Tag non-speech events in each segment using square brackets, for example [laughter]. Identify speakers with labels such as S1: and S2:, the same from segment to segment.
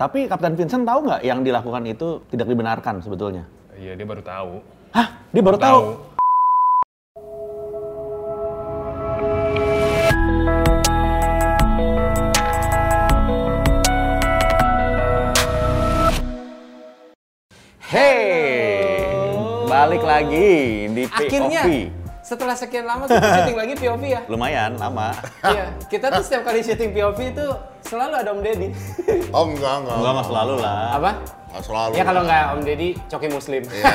S1: Tapi Kapten Vincent tahu nggak yang dilakukan itu tidak dibenarkan sebetulnya?
S2: Iya, dia baru tahu.
S1: Hah? Dia baru tahu.
S3: Hey, balik lagi di POV.
S4: Akhirnya setelah sekian lama [laughs] kita syuting lagi POV ya.
S1: Lumayan lama.
S4: Iya, kita tuh setiap kali syuting POV itu selalu ada Om Deddy.
S3: Oh enggak, enggak.
S1: Enggak mas selalu lah.
S4: [laughs] Apa?
S3: Enggak selalu.
S4: Ya kalau nggak Om Deddy, coki muslim.
S3: Iya,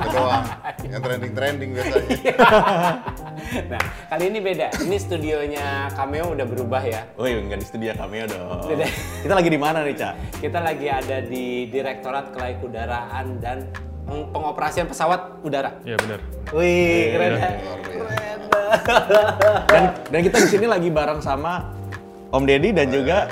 S3: itu doang. Yang trending-trending biasanya.
S4: [laughs] Iya. nah, kali ini beda. Ini studionya Cameo udah berubah ya.
S1: Woi, enggak di studio kami ya dong.
S4: Beda.
S1: Kita lagi di mana nih, Cak?
S4: Kita lagi ada di Direktorat Kedaraan dan Peng- Pengoperasian Pesawat Udara.
S2: Iya, benar.
S4: Wih, keren ya.
S3: Luar biasa.
S1: Dan dan kita di sini lagi bareng sama Om Deddy dan juga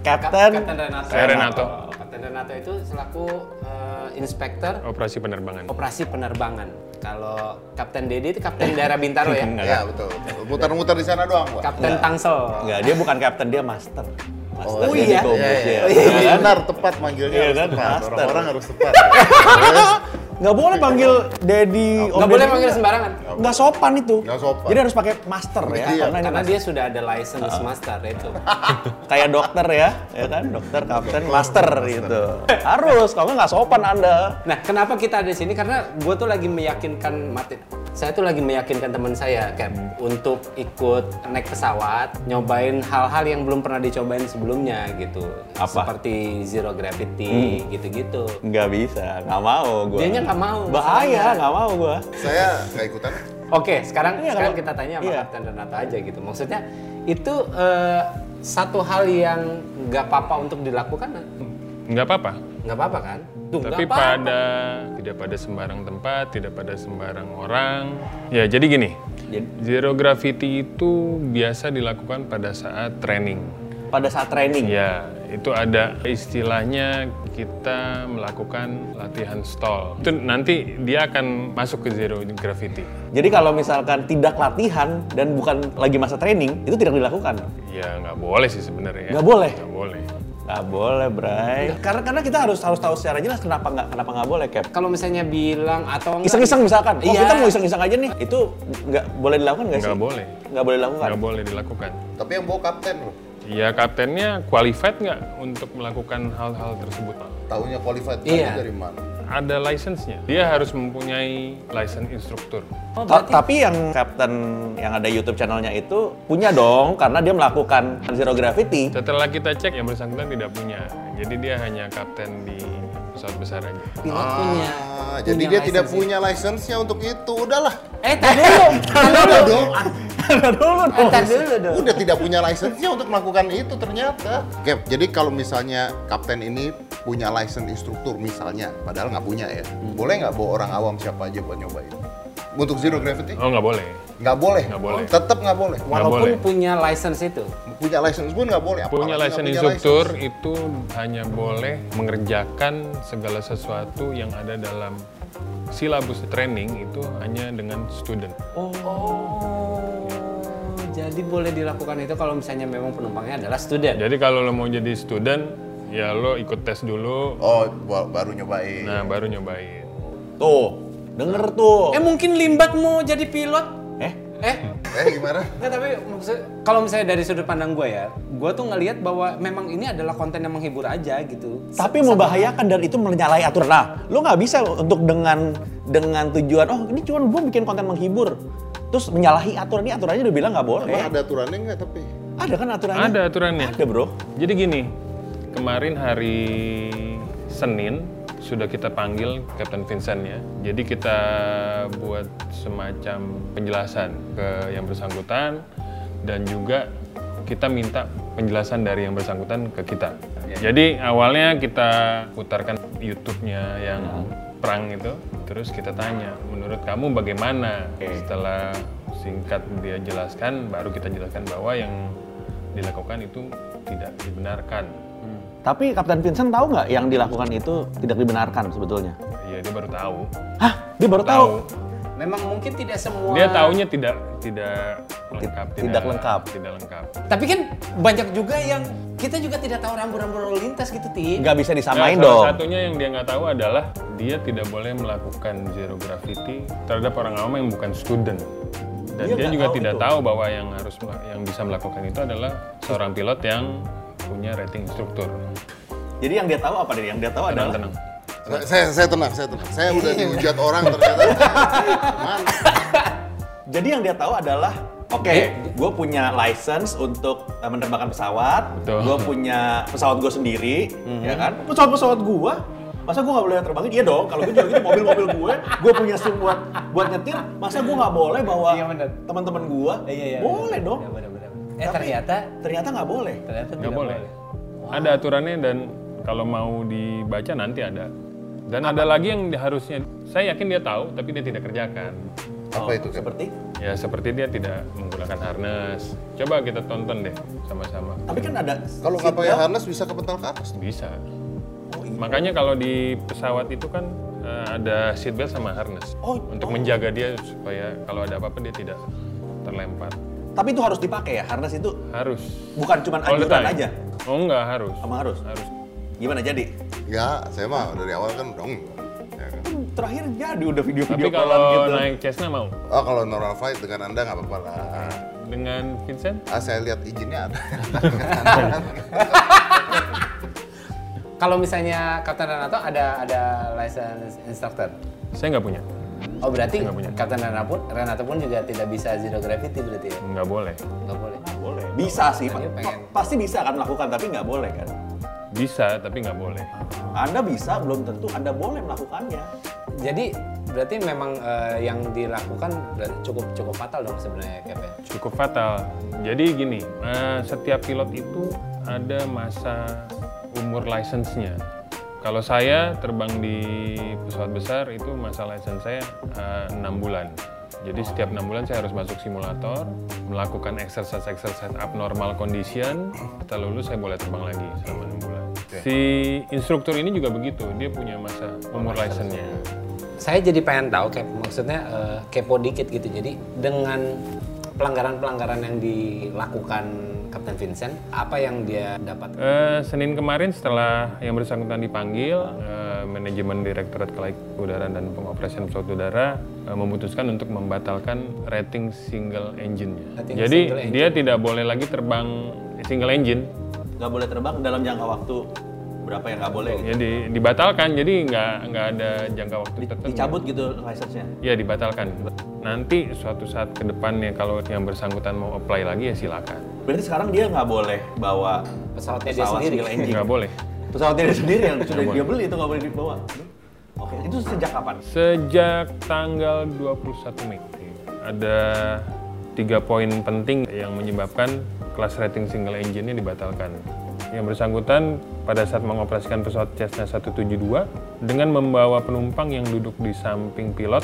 S1: Kapten
S4: Kapten Renato.
S2: Saya Renato.
S4: Kapten Renato itu selaku eh, inspektor
S2: Operasi penerbangan.
S4: operasi penerbangan. Kalau Kapten Deddy itu Kapten daerah Bintaro ya.
S1: Enggak,
S3: Iya, betul. betul. Muter-muter di sana doang, Pak.
S4: Kapten Tangsel.
S1: Enggak, dia bukan kapten, dia master. Master
S4: Oh,
S1: dia
S4: iya?
S1: di Gobus
S3: Iya,
S1: ya.
S3: iya. Iya, Benar, tepat manggilnya
S1: Iya,
S3: harus
S1: kan?
S3: tepat.
S1: Master.
S3: Orang-orang harus tepat.
S1: Nggak boleh panggil Dedi Om
S4: Nggak boleh
S1: Deddy.
S4: manggil sembarangan.
S1: Nggak sopan itu.
S3: Nggak sopan.
S1: Jadi harus pakai master ya.
S3: Iya.
S1: Karena, Ah. ini
S4: Karena
S1: mas-
S4: dia sudah ada license master ya, itu.
S1: kayak dokter ya, ya kan? Dokter, kapten, master gitu. Harus, kalau nggak nggak sopan Anda.
S4: Nah, kenapa kita ada di sini? Karena gue tuh lagi meyakinkan Martin. Saya tuh lagi meyakinkan teman saya kayak untuk ikut naik pesawat, nyobain hal-hal yang belum pernah dicobain sebelumnya gitu.
S1: Apa?
S4: Seperti zero gravity gitu-gitu.
S1: Nggak bisa, nggak mau gua.
S4: Dianya nggak mau.
S1: Bahaya,
S4: masalahnya.
S1: nggak mau gua.
S3: Saya nggak ikutan.
S4: Oke, sekarang
S1: Iya,
S4: sekarang
S1: kalau-
S4: kita tanya sama
S1: iya.
S4: Kapten Renato aja gitu. Maksudnya itu eh, satu hal yang nggak apa-apa untuk dilakukan,
S2: Nggak apa-apa.
S4: nggak apa-apa kan? Tuh, nggak
S2: Tapi
S4: apa-apa.
S2: pada tidak pada sembarang tempat, tidak pada sembarang orang. Ya, jadi gini. Zero gravity itu biasa dilakukan pada saat training.
S1: Pada saat training.
S2: Ya, itu ada istilahnya kita melakukan latihan stall. Itu nanti dia akan masuk ke zero gravity.
S1: Jadi kalau misalkan tidak latihan dan bukan lagi masa training, itu tidak dilakukan.
S2: Ya, nggak boleh sih sebenarnya. ya.
S1: Nggak boleh?
S2: Nggak boleh.
S1: Nggak boleh, Bray. Karena karena kita harus harus tahu secara jelas kenapa nggak kenapa nggak boleh, Cap.
S4: Kalau misalnya bilang atau enggak-
S1: Iseng-iseng misalkan, oh
S4: Iya.
S1: kita mau iseng-iseng aja nih, itu nggak boleh dilakukan nggak sih?
S2: Nggak boleh.
S1: Nggak boleh dilakukan.
S2: Nggak boleh dilakukan.
S3: Tapi yang bawa kapten loh.
S2: Ya, kaptennya qualified nggak untuk melakukan hal-hal tersebut?
S3: Taunya qualified tadi
S4: Iya.
S3: dari mana?
S2: Ada license-nya. Dia harus mempunyai license instruktur.
S4: Oh,
S1: Ta-
S4: berarti
S1: tapi yang Captain yang ada YouTube channelnya itu punya dong, karena dia melakukan zero gravity.
S2: [laughs] Setelah kita cek, yang bersangkutan tidak punya. Jadi dia hanya kapten di pesawat besar aja.
S4: pilot punya.
S3: Ah,
S4: punya
S3: jadi dia tidak
S4: license
S3: punya license-nya untuk itu. Udahlah.
S4: ya. Eh, tar dulu. tar dulu.
S3: Udah dong. Oh,
S1: Ada dulu
S4: Eh, tar dulu dong.
S3: Udah tidak punya license-nya untuk melakukan itu ternyata. Oke, jadi kalau misalnya kapten ini punya license instruktur misalnya, padahal nggak punya ya.
S2: Hmm.
S3: Boleh nggak bawa orang awam siapa aja buat nyobain? Untuk zero gravity?
S2: Oh, nggak boleh.
S3: Nggak boleh.
S2: Nggak boleh.
S3: Tetap nggak boleh.
S2: Nggak
S4: Walaupun
S2: boleh.
S4: punya license itu.
S3: Punya license pun nggak boleh. apalagi
S2: Punya
S3: nggak
S2: license
S3: punya
S2: instruktur itu hanya boleh mengerjakan segala sesuatu yang ada dalam silabus training itu hanya dengan student.
S4: Oh. Jadi boleh dilakukan itu kalau misalnya memang penumpangnya adalah student.
S2: Jadi kalau lo mau jadi student, ya lo ikut tes dulu,
S3: Oh, ba- baru nyobain.
S2: nah baru nyobain.
S1: Tuh, denger tuh.
S4: Eh mungkin Limbat mau jadi pilot?
S1: Eh,
S4: Eh,
S3: Eh gimana?
S4: Nggak, tapi maksud kalau misalnya dari sudut pandang gue ya, gue tuh ngelihat bahwa memang ini adalah konten yang menghibur aja gitu.
S1: tapi membahayakan dan itu menyalahi aturan. Nah, lo nggak bisa untuk dengan dengan tujuan, oh ini cuma gue bikin konten menghibur. Terus menyalahi aturan, ini aturannya udah bilang nggak boleh.
S3: Emang ada aturannya nggak tapi?
S1: Ada kan aturannya?
S2: Ada aturannya.
S1: Ada bro.
S2: Jadi gini, kemarin hari Senin sudah kita panggil Captain Vincent ya. Jadi kita buat semacam penjelasan ke yang bersangkutan dan juga kita minta penjelasan dari yang bersangkutan ke kita. Jadi awalnya kita putarkan YouTube-nya yang perang itu, terus kita tanya, menurut kamu bagaimana? Setelah singkat dia jelaskan, baru kita jelaskan bahwa yang dilakukan itu tidak dibenarkan.
S1: Hmm. Tapi Kapten Vincent tahu nggak yang dilakukan itu tidak dibenarkan sebetulnya?
S2: Iya dia baru tahu.
S1: Hah? Dia baru tahu.
S4: memang mungkin tidak semua
S2: Dia taunya tidak tidak lengkap,
S1: tidak lengkap.
S2: tidak lengkap.
S4: tapi kan banyak juga yang kita juga tidak tahu rambu-rambu lalu lintas gitu ti
S1: Nggak bisa disamain
S2: Nah, salah
S1: dong.
S2: satunya yang dia nggak tahu adalah dia tidak boleh melakukan zero graffiti terhadap orang awam yang bukan student. Dan
S1: Dia
S2: dia,
S1: nggak
S2: juga
S1: tahu
S2: tidak
S1: itu.
S2: tahu bahwa yang harus mela- yang bisa melakukan itu adalah seorang pilot yang punya rating instruktur.
S1: Jadi yang dia tahu apa deh? Yang dia tahu adalah
S2: Tenang-tenang.
S3: Saya, Iya. saya tenang, saya tenang. Saya udah dihujat orang ternyata. Man,
S1: Jadi yang dia tahu adalah oke, gue punya license untuk eh, menerbangkan pesawat,
S2: Betul. Mhm.
S1: gue punya pesawat gue sendiri, ya kan? Pesawat-pesawat gue, masa gue nggak boleh terbangin? Iya dong, kalau gue juga gitu mobil-mobil gue, gue punya SIM buat buat nyetir, masa gue nggak boleh bawa
S4: Iya, bener.
S1: teman-teman gue?
S2: Iya,
S1: boleh dong.
S4: eh
S1: Tapi-
S4: ternyata
S1: Ternyata nggak boleh.
S4: ternyata
S2: Nggak
S4: tidak
S2: boleh. Ada aturannya dan kalau mau dibaca nanti ada. Dan ada lagi yang harusnya saya yakin dia tahu tapi dia tidak kerjakan.
S3: apa itu? Cap?
S1: Oh, Seperti,
S2: Ya seperti dia tidak menggunakan harness. Coba kita tonton deh sama-sama.
S1: tapi kan ada
S3: Kalau nggak
S1: seatbelt.
S3: pakai harness bisa kepental ke atas.
S2: Bisa.
S1: Oh, iya.
S2: Makanya kalau di pesawat itu kan eh, ada seatbelt sama harness
S1: Oh,
S2: untuk menjaga dia supaya kalau ada apa-apa dia tidak terlempar.
S1: Tapi itu harus dipakai ya, harness itu
S2: Harus.
S1: bukan cuma
S2: All the
S1: anjuran
S2: time.
S1: aja,
S2: Oh enggak harus.
S1: sama harus.
S2: Harus.
S1: Gimana jadi?
S3: Enggak, saya mah dari awal kan dong. Ya kan?
S1: Terakhir jadi udah video-video gitu.
S2: Tapi kalau naik Cessna mau
S3: Oh kalau normal flight dengan anda nggak apa-apa lah.
S2: dengan Vincent?
S3: Ah, saya lihat izinnya ada.
S4: kalau misalnya Kapten Renato ada ada license instructor
S2: Saya nggak punya.
S4: oh berarti
S2: Nggak punya.
S4: Kapten Renato pun Renato pun juga tidak bisa zero gravity berarti ya
S2: Nggak boleh.
S4: nggak boleh
S1: boleh. Bisa sih,
S4: Tanya
S1: Pak.
S4: pengen.
S1: Pa- pasti bisa kan melakukan, tapi nggak boleh kan?
S2: Bisa tapi nggak boleh.
S1: Anda bisa, belum tentu Anda boleh melakukannya.
S4: jadi berarti memang eh, yang dilakukan berarti cukup cukup fatal dong sebenarnya Cap ya?
S2: Cukup fatal. Jadi gini, eh, setiap pilot itu ada masa umur license-nya. Kalau saya terbang di pesawat besar itu masa license saya eh, enam bulan. Jadi setiap enam bulan saya harus masuk simulator, melakukan exercise-exercise abnormal condition. Setelah lulus saya boleh terbang lagi selama enam bulan. Si instruktur ini juga begitu, dia punya masa umur license-nya.
S4: saya jadi pengen tahu Cap, maksudnya eh, kepo dikit gitu jadi dengan pelanggaran-pelanggaran yang dilakukan Kapten Vincent apa yang dia dapat
S2: Eh, Senin kemarin setelah yang bersangkutan dipanggil, eh, manajemen Direktorat Kelayakudara dan Pengoperasian Pesawat Udara eh, memutuskan untuk membatalkan rating single engine-nya.
S4: Rating
S2: Jadi
S4: single engine.
S2: dia tidak boleh lagi terbang single engine.
S1: Nggak boleh terbang dalam jangka waktu berapa yang nggak boleh. gitu.
S2: Jadi dibatalkan. Jadi nggak nggak ada jangka waktu tertentu.
S1: Dicabut gitu license-nya.
S2: Ya dibatalkan. Nanti suatu saat ke depannya kalau yang bersangkutan mau apply lagi ya silakan.
S1: Berarti sekarang dia nggak boleh bawa
S4: pesawatnya dia
S1: pesawat
S4: sendiri
S1: single engine.
S2: Nggak boleh.
S1: Pesawatnya dia sendiri yang sudah dia beli itu nggak boleh dibawa. Oke, itu sejak kapan?
S2: Sejak tanggal 21 Mei ada tiga poin penting yang menyebabkan kelas rating single engine-nya dibatalkan. Yang bersangkutan pada saat mengoperasikan pesawat Cessna 172 dengan membawa penumpang yang duduk di samping pilot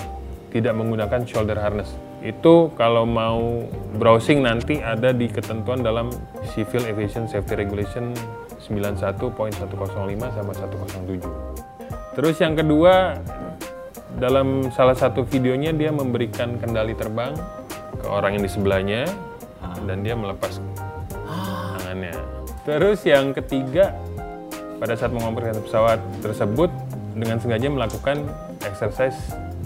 S2: tidak menggunakan shoulder harness. Itu kalau mau browsing nanti ada di ketentuan dalam Civil Aviation Safety Regulation 91.105 sama 107. Terus yang kedua, dalam salah satu videonya dia memberikan kendali terbang ke orang yang di sebelahnya dan dia melepas tangannya. Terus yang ketiga pada saat mengoperasikan pesawat tersebut dengan sengaja melakukan exercise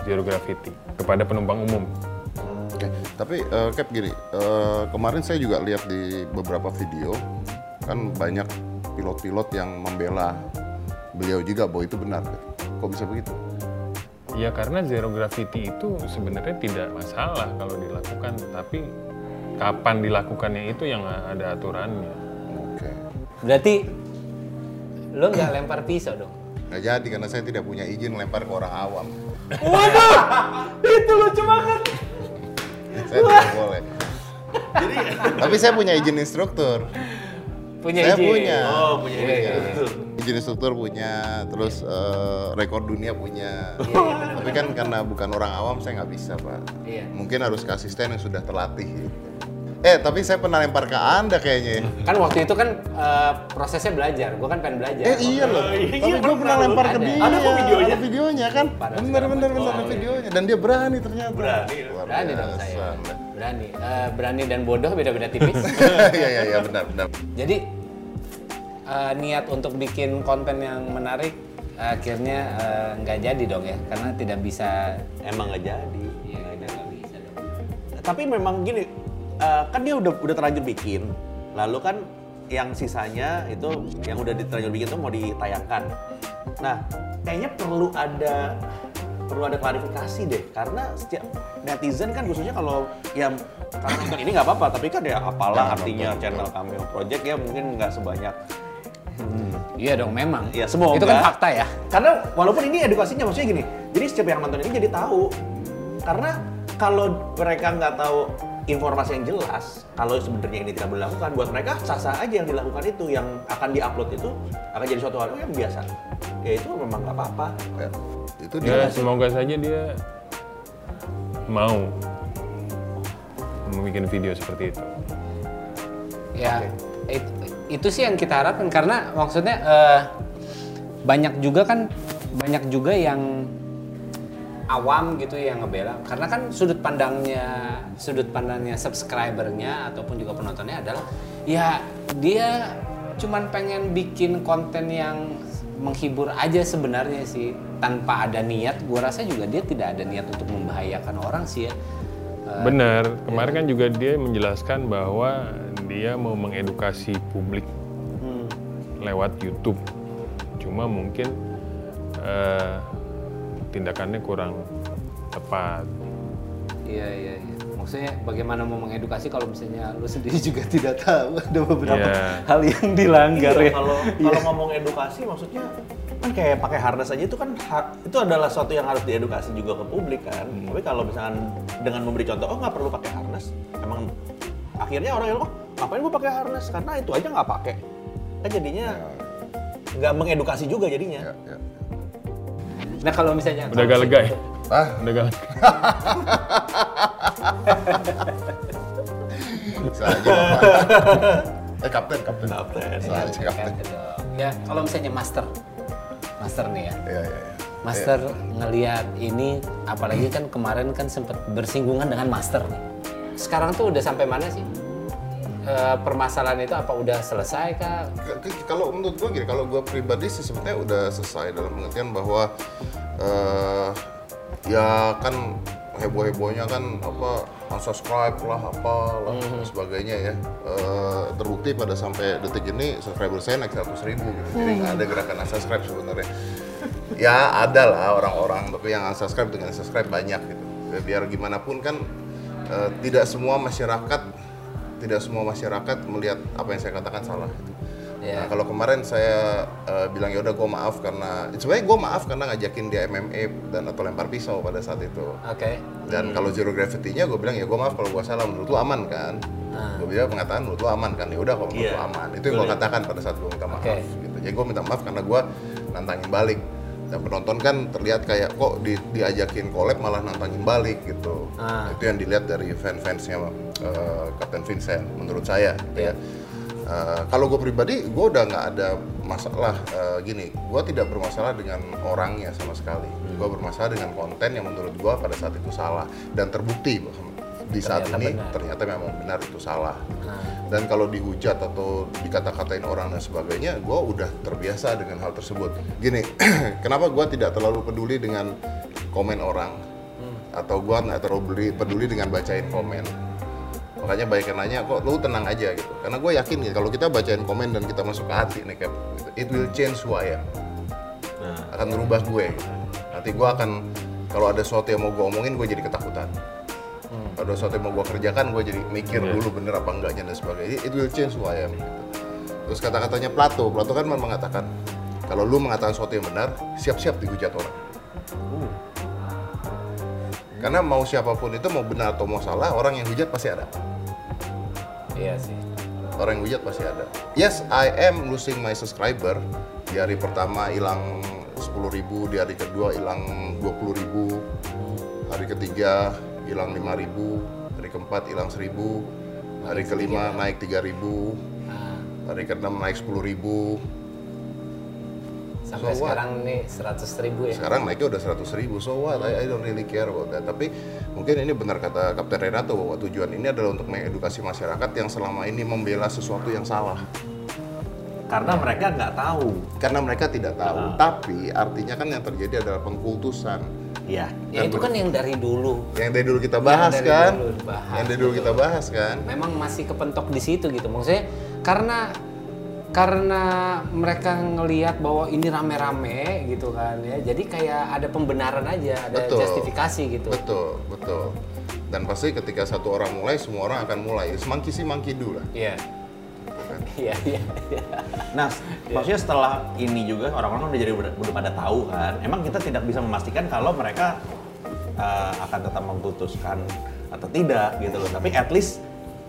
S2: zero gravity kepada penumpang umum.
S3: [laughs] Oke, tapi eh, Cap gini, eh, kemarin saya juga lihat di beberapa video kan banyak pilot-pilot yang membela beliau juga bahwa itu benar. Cap. Kok bisa begitu?
S2: Ya karena zero gravity itu sebenarnya tidak masalah kalau dilakukan, tapi kapan dilakukannya itu yang ada aturannya.
S3: Oke.
S4: berarti lo nggak lempar pisau dong
S3: Nggak jadi karena saya tidak punya izin lempar ke orang
S1: [laughs]
S3: awam.
S1: itu lucu banget.
S3: Saya tidak boleh. tapi saya punya izin instruktur.
S4: punya
S3: saya
S4: izin
S3: punya.
S1: Oh, punya ini. Itu.
S3: Izin instruktur punya, terus eh, rekor dunia punya.
S4: Iya,
S3: Tapi kan karena bukan orang awam saya nggak bisa pak.
S4: Iya.
S3: Mungkin harus ke asisten yang sudah terlatih. gitu. Eh, tapi saya pernah lempar ke Anda kayaknya. ya.
S4: Kan waktu itu kan eh, prosesnya belajar, gue kan pengen belajar.
S3: Eh iya loh,
S5: iya,
S3: tapi gue
S5: pernah,
S3: pernah lempar ke
S4: ada.
S3: dia.
S5: Ada kok videonya. Oh, iya.
S3: Ada videonya kan?
S4: Parah,
S3: Bener
S4: segala
S3: bener
S4: macam.
S3: bener ada videonya. Dan dia berani ternyata.
S5: Berani, ya.
S3: Luar
S4: Berani dong
S3: biasa.
S4: saya. Berani. Eh, berani dan bodoh beda-beda tipis.
S3: [laughs] Iya iya iya benar benar.
S4: Jadi eh, niat untuk bikin konten yang menarik akhirnya eh, nggak jadi dong ya karena tidak bisa
S1: Emang nggak jadi.
S4: Iya, nggak bisa dong.
S1: Tapi memang gini, eh, kan dia udah udah terlanjur bikin. Lalu kan yang sisanya itu yang udah terlanjur bikin itu mau ditayangkan. Nah, kayaknya perlu ada perlu ada klarifikasi deh karena setiap netizen kan khususnya kalau yang karena nonton ini nggak apa-apa tapi kan ya apalah artinya channel cameo project ya mungkin nggak sebanyak
S4: Iya dong memang.
S1: Ya, semoga.
S4: Itu kan fakta ya.
S1: Karena walaupun ini edukasinya maksudnya gini, jadi setiap yang nonton ini jadi tahu. Karena kalau mereka nggak tahu informasi yang jelas, kalau sebenarnya ini tidak boleh dilakukan, buat mereka sah-sah aja yang dilakukan itu, yang akan diupload itu akan jadi suatu hal yang biasa. Ya itu memang nggak apa-apa.
S3: Ya, Itu dia.
S2: Ya semoga saja dia mau membuat video seperti itu.
S4: Ya it- itu sih yang kita harapkan karena maksudnya eh, banyak juga kan banyak juga yang awam gitu yang ngebela karena kan sudut pandangnya sudut pandangnya subscribernya ataupun juga penontonnya adalah ya dia cuman pengen bikin konten yang menghibur aja sebenarnya sih tanpa ada niat gua rasa juga dia tidak ada niat untuk membahayakan orang sih ya Eh,
S3: Ah,
S2: Benar,
S3: ya.
S2: kemarin kan juga dia menjelaskan bahwa dia mau mengedukasi publik
S3: Hmm.
S2: lewat YouTube. Cuma mungkin eh, tindakannya kurang tepat.
S4: Iya iya iya. Maksudnya bagaimana mau mengedukasi kalau misalnya lu sendiri juga [laughs] tidak tahu ada beberapa
S2: Iya.
S4: hal yang dilanggar
S1: Iya,
S4: ya.
S1: [laughs] kalau kalau ngomong edukasi maksudnya kan kayak pakai harness aja itu kan ha- itu adalah suatu yang harus diedukasi juga ke publik kan. Tapi kalau misalkan dengan memberi contoh oh nggak perlu pakai harness, emang akhirnya orang yang oh ngapain gue pakai harness karena itu aja nggak pakai. Kan jadinya nggak mengedukasi juga jadinya.
S3: Ya, ya.
S4: Nah kalau misalnya
S2: Udah agak
S4: kalau
S2: lega ya?
S4: misalnya-
S3: Ah.
S2: Udah agak lega.
S3: Saja. Bapak. eh kapten kapten.
S1: Kapten.
S3: Saja kapten.
S4: Ya kalau misalnya master, master nih ya.
S3: Iya iya. iya.
S4: Master ngelihat ini, apalagi kan kemarin kan sempat bersinggungan dengan master nih. Sekarang tuh udah sampai mana sih? Eh, permasalahan itu apa udah selesai kah?
S3: K- k- kalau menurut gue gini, kalau gue pribadi sih sebetulnya udah selesai dalam pengertian bahwa eh ya kan heboh-hebohnya kan apa unsubscribe lah apa lah dan sebagainya ya Eh, terbukti pada sampai detik ini subscriber saya naik 100.000 ribu gitu jadi nggak ada gerakan unsubscribe sebenarnya ya ada lah orang-orang tapi yang unsubscribe dengan subscribe banyak gitu Ya, biar gimana pun kan eh, tidak semua masyarakat tidak semua masyarakat melihat apa yang saya katakan salah gitu.
S4: Ya.
S3: Nah, kalau kemarin saya eh, bilang ya udah gue maaf karena sebenarnya gue maaf karena ngajakin dia MMA dan atau lempar pisau pada saat itu.
S4: Oke.
S3: Dan kalau zero gravity-nya gue bilang ya gue maaf kalau gue salah menurut lu aman kan? Gue bilang pengataan menurut lu aman kan? Ya udah kalau menurut
S1: Iya.
S3: lu aman itu yang gue katakan pada saat gue minta maaf.
S4: Oke.
S3: Gitu. Jadi gue minta maaf karena gue nantangin balik dan penonton kan terlihat kayak kok di- diajakin collab malah nantangin balik gitu.
S4: Ah.
S3: Itu yang dilihat dari fan-fansnya eh, Kapten Vincent menurut saya. Gitu
S4: Iya.
S3: ya. Eh, kalau gue pribadi, gue udah nggak ada masalah eh, gini. Gue tidak bermasalah dengan orangnya sama sekali.
S4: Hmm.
S3: Gue bermasalah dengan konten yang menurut gue pada saat itu salah dan terbukti bahwa di saat
S4: Ternyata
S3: ini
S4: Iya, benar.
S3: ternyata memang benar itu salah.
S4: Nah,
S3: Dan kalau dihujat atau dikata-katain orang dan sebagainya, gue udah terbiasa dengan hal tersebut. Gini, [clears throat] kenapa gue tidak terlalu peduli dengan komen orang
S4: Hmm.
S3: atau gue nggak terlalu peduli, peduli dengan bacain komen. Makanya baik yang nanya kok lu tenang aja gitu. Karena gue yakin gitu, kalau kita bacain komen dan kita masuk ke hati nih kayak gitu, it will change who I am.
S4: Nah.
S3: Akan merubah gue. gitu. Nanti gue akan kalau ada sesuatu yang mau gue omongin gue jadi ketakutan ada sesuatu yang mau gue kerjakan gue jadi mikir dulu bener apa enggaknya dan sebagainya it will change who I am gitu. terus kata-katanya Plato Plato kan memang mengatakan kalau lu mengatakan sesuatu yang benar siap-siap dihujat orang karena mau siapapun itu mau benar atau mau salah orang yang hujat pasti ada
S4: iya sih.
S3: orang yang hujat pasti ada. Yes, I am losing my subscriber. Di hari pertama hilang 10.000, ribu, di hari kedua hilang 20.000, ribu, hari ketiga hilang 5.000, hari keempat hilang 1.000, Hari kelima naik 3000
S4: Nah,
S3: hari keenam naik 10000
S4: sampai
S3: So what?
S4: sekarang nih 100.000 ribu ya.
S3: Sekarang naiknya udah 100.000 ribu, so what? I, I don't really care about that. Tapi mungkin ini benar kata Kapten Renato bahwa tujuan ini adalah untuk mengedukasi masyarakat yang selama ini membela sesuatu yang salah.
S1: Karena mereka nggak tahu.
S3: Karena mereka tidak tahu. Tapi artinya kan yang terjadi adalah pengkultusan.
S1: Iya.
S4: Ya itu kan yang dari dulu.
S3: Yang dari dulu kita bahas
S4: dari
S3: kan?
S4: dulu dibahas.
S3: Yang dari dulu kita bahas kan?
S4: Memang masih kepentok di situ gitu. Maksudnya karena karena mereka ngelihat bahwa ini rame-rame gitu kan ya. Jadi kayak ada pembenaran aja, ada
S3: Betul.
S4: justifikasi gitu.
S3: Betul, betul. Dan pasti ketika satu orang mulai, semua orang akan mulai. Ya, Semangki sih mangki dulu lah.
S4: Iya. Iya, iya. iya.
S1: Nah, s- maksudnya setelah ini juga orang-orang udah jadi udah, udah pada tahu kan. Emang kita tidak bisa memastikan kalau mereka eh, akan tetap memutuskan atau tidak gitu loh. Tapi at least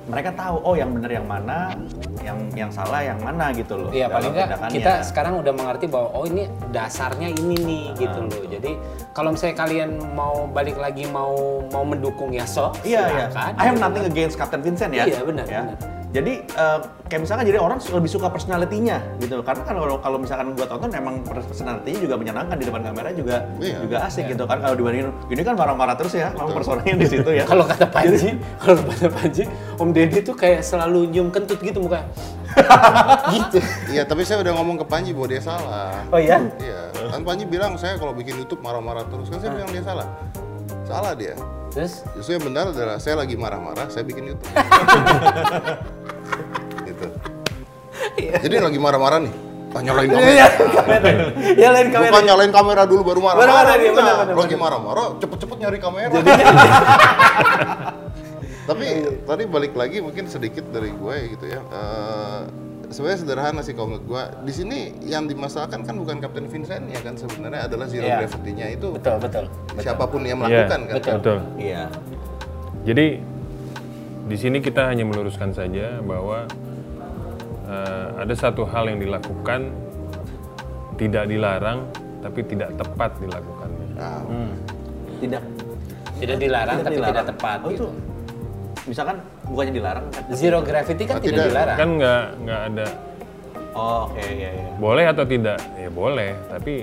S1: mereka tahu oh yang benar yang mana, yang yang salah yang mana gitu loh.
S4: Iya
S1: dalam
S4: paling nggak
S1: tindakannya.
S4: kita sekarang udah mengerti bahwa oh ini dasarnya ini nih
S1: Nah,
S4: gitu loh. Jadi kalau misalnya kalian mau balik lagi mau mau mendukung ya sok
S1: Iya, iya.
S4: silakan.
S1: I have nothing against Captain Vincent ya.
S4: Iya, benar,
S1: Ya.
S4: benar.
S1: Jadi eh, kayak misalkan jadi orang lebih suka personalitinya gitu karena kan kalau kalau misalkan gua tonton emang personalitinya juga menyenangkan di depan kamera juga
S3: Iya.
S1: juga asik gitu kan kalau dibandingin ini kan marah-marah terus ya memang personanya di situ ya.
S4: [laughs] Kalau kata Panji, kalau kata Panji, Om Deddy tuh kayak selalu nyium kentut gitu muka.
S1: [laughs]
S4: gitu.
S3: Iya, tapi saya udah ngomong ke Panji bahwa dia salah.
S1: Oh iya.
S3: Iya, kan Panji bilang saya kalau bikin YouTube marah-marah terus kan saya bilang dia salah. Salah dia.
S4: Terus
S3: Justru yang benar adalah saya lagi marah-marah, saya bikin YouTube. gitu. Jadi lagi marah-marah nih. Ah, nyalain kamera.
S4: ya lain
S3: Bukan nyalain kamera dulu baru
S4: Marah-marah
S3: marah-marah.
S4: nih,
S3: Enggak.
S4: benar-benar,
S3: Lagi marah-marah, cepet-cepet nyari kamera. [laughs] Tapi tadi balik lagi mungkin sedikit dari gue gitu ya. Eh, sebenarnya sederhana sih kalau menurut gue. Di sini yang dimasalahkan kan bukan Kapten Vincent ya kan sebenarnya adalah zero
S4: Iya.
S3: gravity-nya itu
S4: Betul, betul.
S3: siapapun yang melakukan
S2: Iya,
S3: kan.
S4: betul.
S2: Betul.
S1: Iya.
S2: Jadi di sini kita hanya meluruskan saja bahwa eh, ada satu hal yang dilakukan tidak dilarang tapi tidak tepat dilakukannya.
S3: Nah,
S4: Hmm.
S1: Tidak
S4: Tidak dilarang tapi
S1: dilarang.
S4: tidak tepat
S1: Oh, itu
S4: gitu.
S1: misalkan bukannya dilarang kan.
S4: Zero gravity kan
S3: Nah,
S4: tidak,
S3: tidak.
S4: dilarang.
S2: Kan nggak nggak ada
S1: Oh, oke iya iya.
S2: boleh atau tidak? Ya boleh, tapi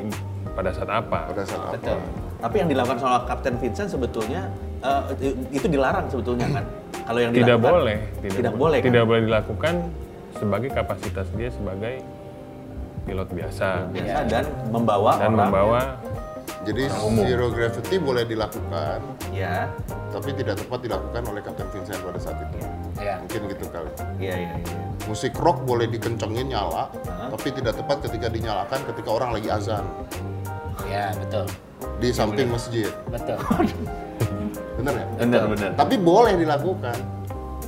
S2: pada saat apa?
S3: pada saat apa?
S4: Betul.
S1: Tapi yang dilakukan soal Captain Vincent sebetulnya eh, itu- itu dilarang sebetulnya kan. Kalau yang
S2: Tidak
S1: dilakukan-
S2: boleh,
S1: Tidak, boleh. kan?
S2: Tidak boleh dilakukan sebagai kapasitas dia sebagai pilot biasa
S1: Biasa dan membawa
S2: dan
S1: orang.
S2: membawa
S3: Jadi zero gravity boleh dilakukan,
S1: Ya,
S3: tapi tidak tepat dilakukan oleh Kapten Vincent pada saat itu.
S1: Kan-
S4: Iya.
S3: Mungkin gitu kali.
S1: iya iya. iya.
S3: Musik rock boleh dikencengin nyala, tapi tidak tepat ketika dinyalakan ketika orang lagi azan
S4: Ya, betul.
S3: di samping masjid.
S4: Betul.
S3: Bener ya?
S1: Bener bener.
S3: Tapi boleh dilakukan.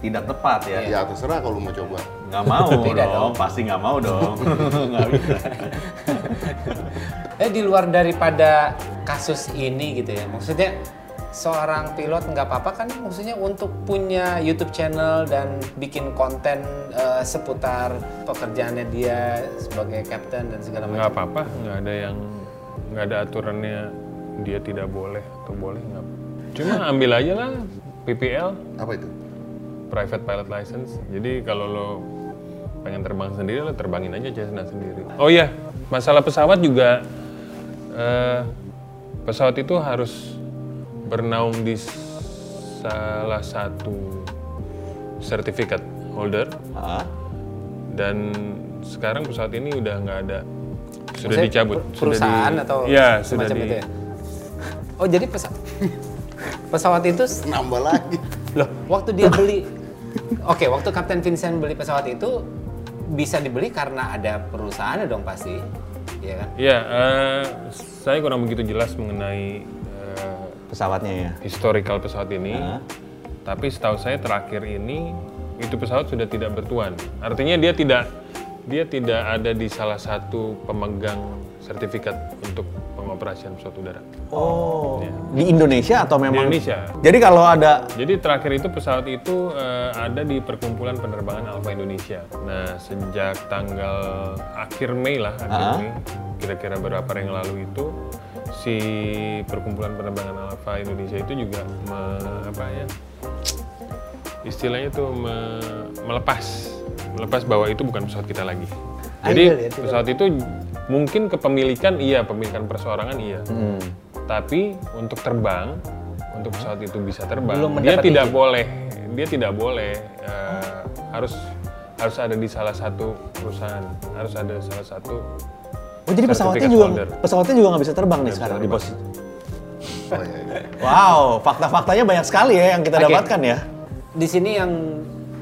S1: Tidak tepat ya.
S3: Ya terserah kalau mau coba.
S1: Nggak [laughs] mau
S4: Tidak
S1: dong. Pasti nggak mau [laughs] dong. Nggak bisa.
S4: Eh di luar daripada kasus ini gitu ya, maksudnya seorang pilot nggak apa-apa kan maksudnya untuk punya YouTube channel dan bikin konten eh, seputar pekerjaannya dia sebagai captain dan segala macam.
S2: nggak apa-apa nggak ada yang nggak ada aturannya dia tidak boleh atau boleh nggak cuma ambil aja lah PPL
S3: Apa itu?
S2: private pilot license jadi kalau lo pengen terbang sendiri lo terbangin aja Cessna sendiri oh iya masalah pesawat juga eh, pesawat itu harus bernaung di s- salah satu sertifikat holder
S1: Hah?
S2: dan sekarang pesawat ini udah nggak ada sudah
S4: Maksudnya
S2: dicabut
S4: per-
S2: sudah
S4: perusahaan
S2: di-
S4: atau
S2: ya sudah
S4: semacam
S2: di
S4: itu ya? Oh jadi pesawat [laughs] pesawat itu s-
S3: Nambah lagi.
S4: loh waktu dia beli oke waktu Kapten Vincent beli pesawat itu bisa dibeli karena ada perusahaannya dong pasti ya kan
S2: ya eh, saya kurang begitu jelas mengenai eh,
S1: Pesawatnya ya.
S2: historical pesawat ini
S1: Hah?
S2: tapi setahu saya terakhir ini itu pesawat sudah tidak bertuan artinya dia tidak dia tidak ada di salah satu pemegang sertifikat untuk pengoperasian pesawat udara
S1: Oh. Di Indonesia atau
S2: di
S1: memang?
S2: Indonesia
S1: Jadi kalau ada
S2: Jadi terakhir itu pesawat itu eh, ada di perkumpulan penerbangan Alfa Indonesia. Nah sejak tanggal akhir Mei lah, akhir Mei, kira-kira berapa hari yang lalu itu si perkumpulan penerbangan Alfa Indonesia itu juga me- apa ya istilahnya tuh me- melepas melepas bahwa itu bukan pesawat kita lagi.
S4: Ah,
S2: Jadi
S4: iya, iya, tidak.
S2: pesawat itu mungkin kepemilikan iya, pemilikan perseorangan iya. Tapi untuk terbang, untuk pesawat itu bisa terbang,
S1: Belum
S2: dia
S1: mendapat
S2: tidak
S1: izin.
S2: boleh, dia tidak boleh eh, harus harus ada di salah satu perusahaan, harus ada salah satu
S1: Oh jadi pesawatnya
S2: Certificate
S1: juga
S2: holder.
S1: pesawatnya juga nggak bisa terbang nih sekarang di
S2: terbang.
S1: pos.
S3: Oh, iya,
S1: Wow, fakta-faktanya banyak sekali ya yang kita
S4: Oke.
S1: dapatkan ya.
S4: Di sini yang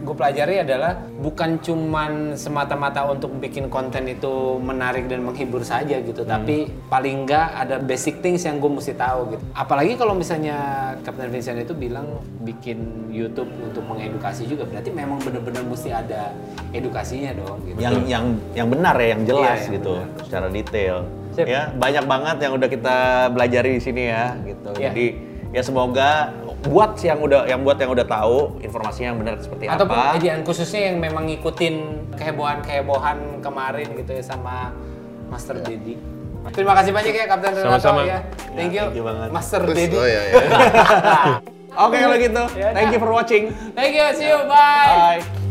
S4: gue pelajari adalah bukan cuman semata-mata untuk bikin konten itu menarik dan menghibur saja gitu, tapi paling nggak ada basic things yang gue mesti tahu gitu. Apalagi kalau misalnya Captain Vincent itu bilang bikin YouTube untuk mengedukasi juga, berarti memang bener-bener mesti ada edukasinya dong gitu.
S1: Yang yang yang benar ya, yang jelas
S4: Iya, yang
S1: gitu, secara detail.
S4: Sip.
S1: Ya, banyak banget yang udah kita belajari di sini ya gitu.
S4: Iya.
S1: Jadi ya semoga buat yang udah yang buat yang udah tahu informasinya yang benar seperti
S4: Ataupun
S1: apa.
S4: kejadian khususnya yang memang ngikutin kehebohan-kehebohan kemarin gitu ya sama Master
S1: Iya.
S4: Dedi. Terima kasih banyak ya Kapten Renato
S2: Sama-sama.
S4: ya. Thank you,
S1: thank you banget.
S4: Master
S3: Terus,
S4: Dedi.
S3: oh ya, ya.
S1: Oke kalau gitu, thank you for watching.
S4: Thank you, see you, Ya, bye.
S1: Bye.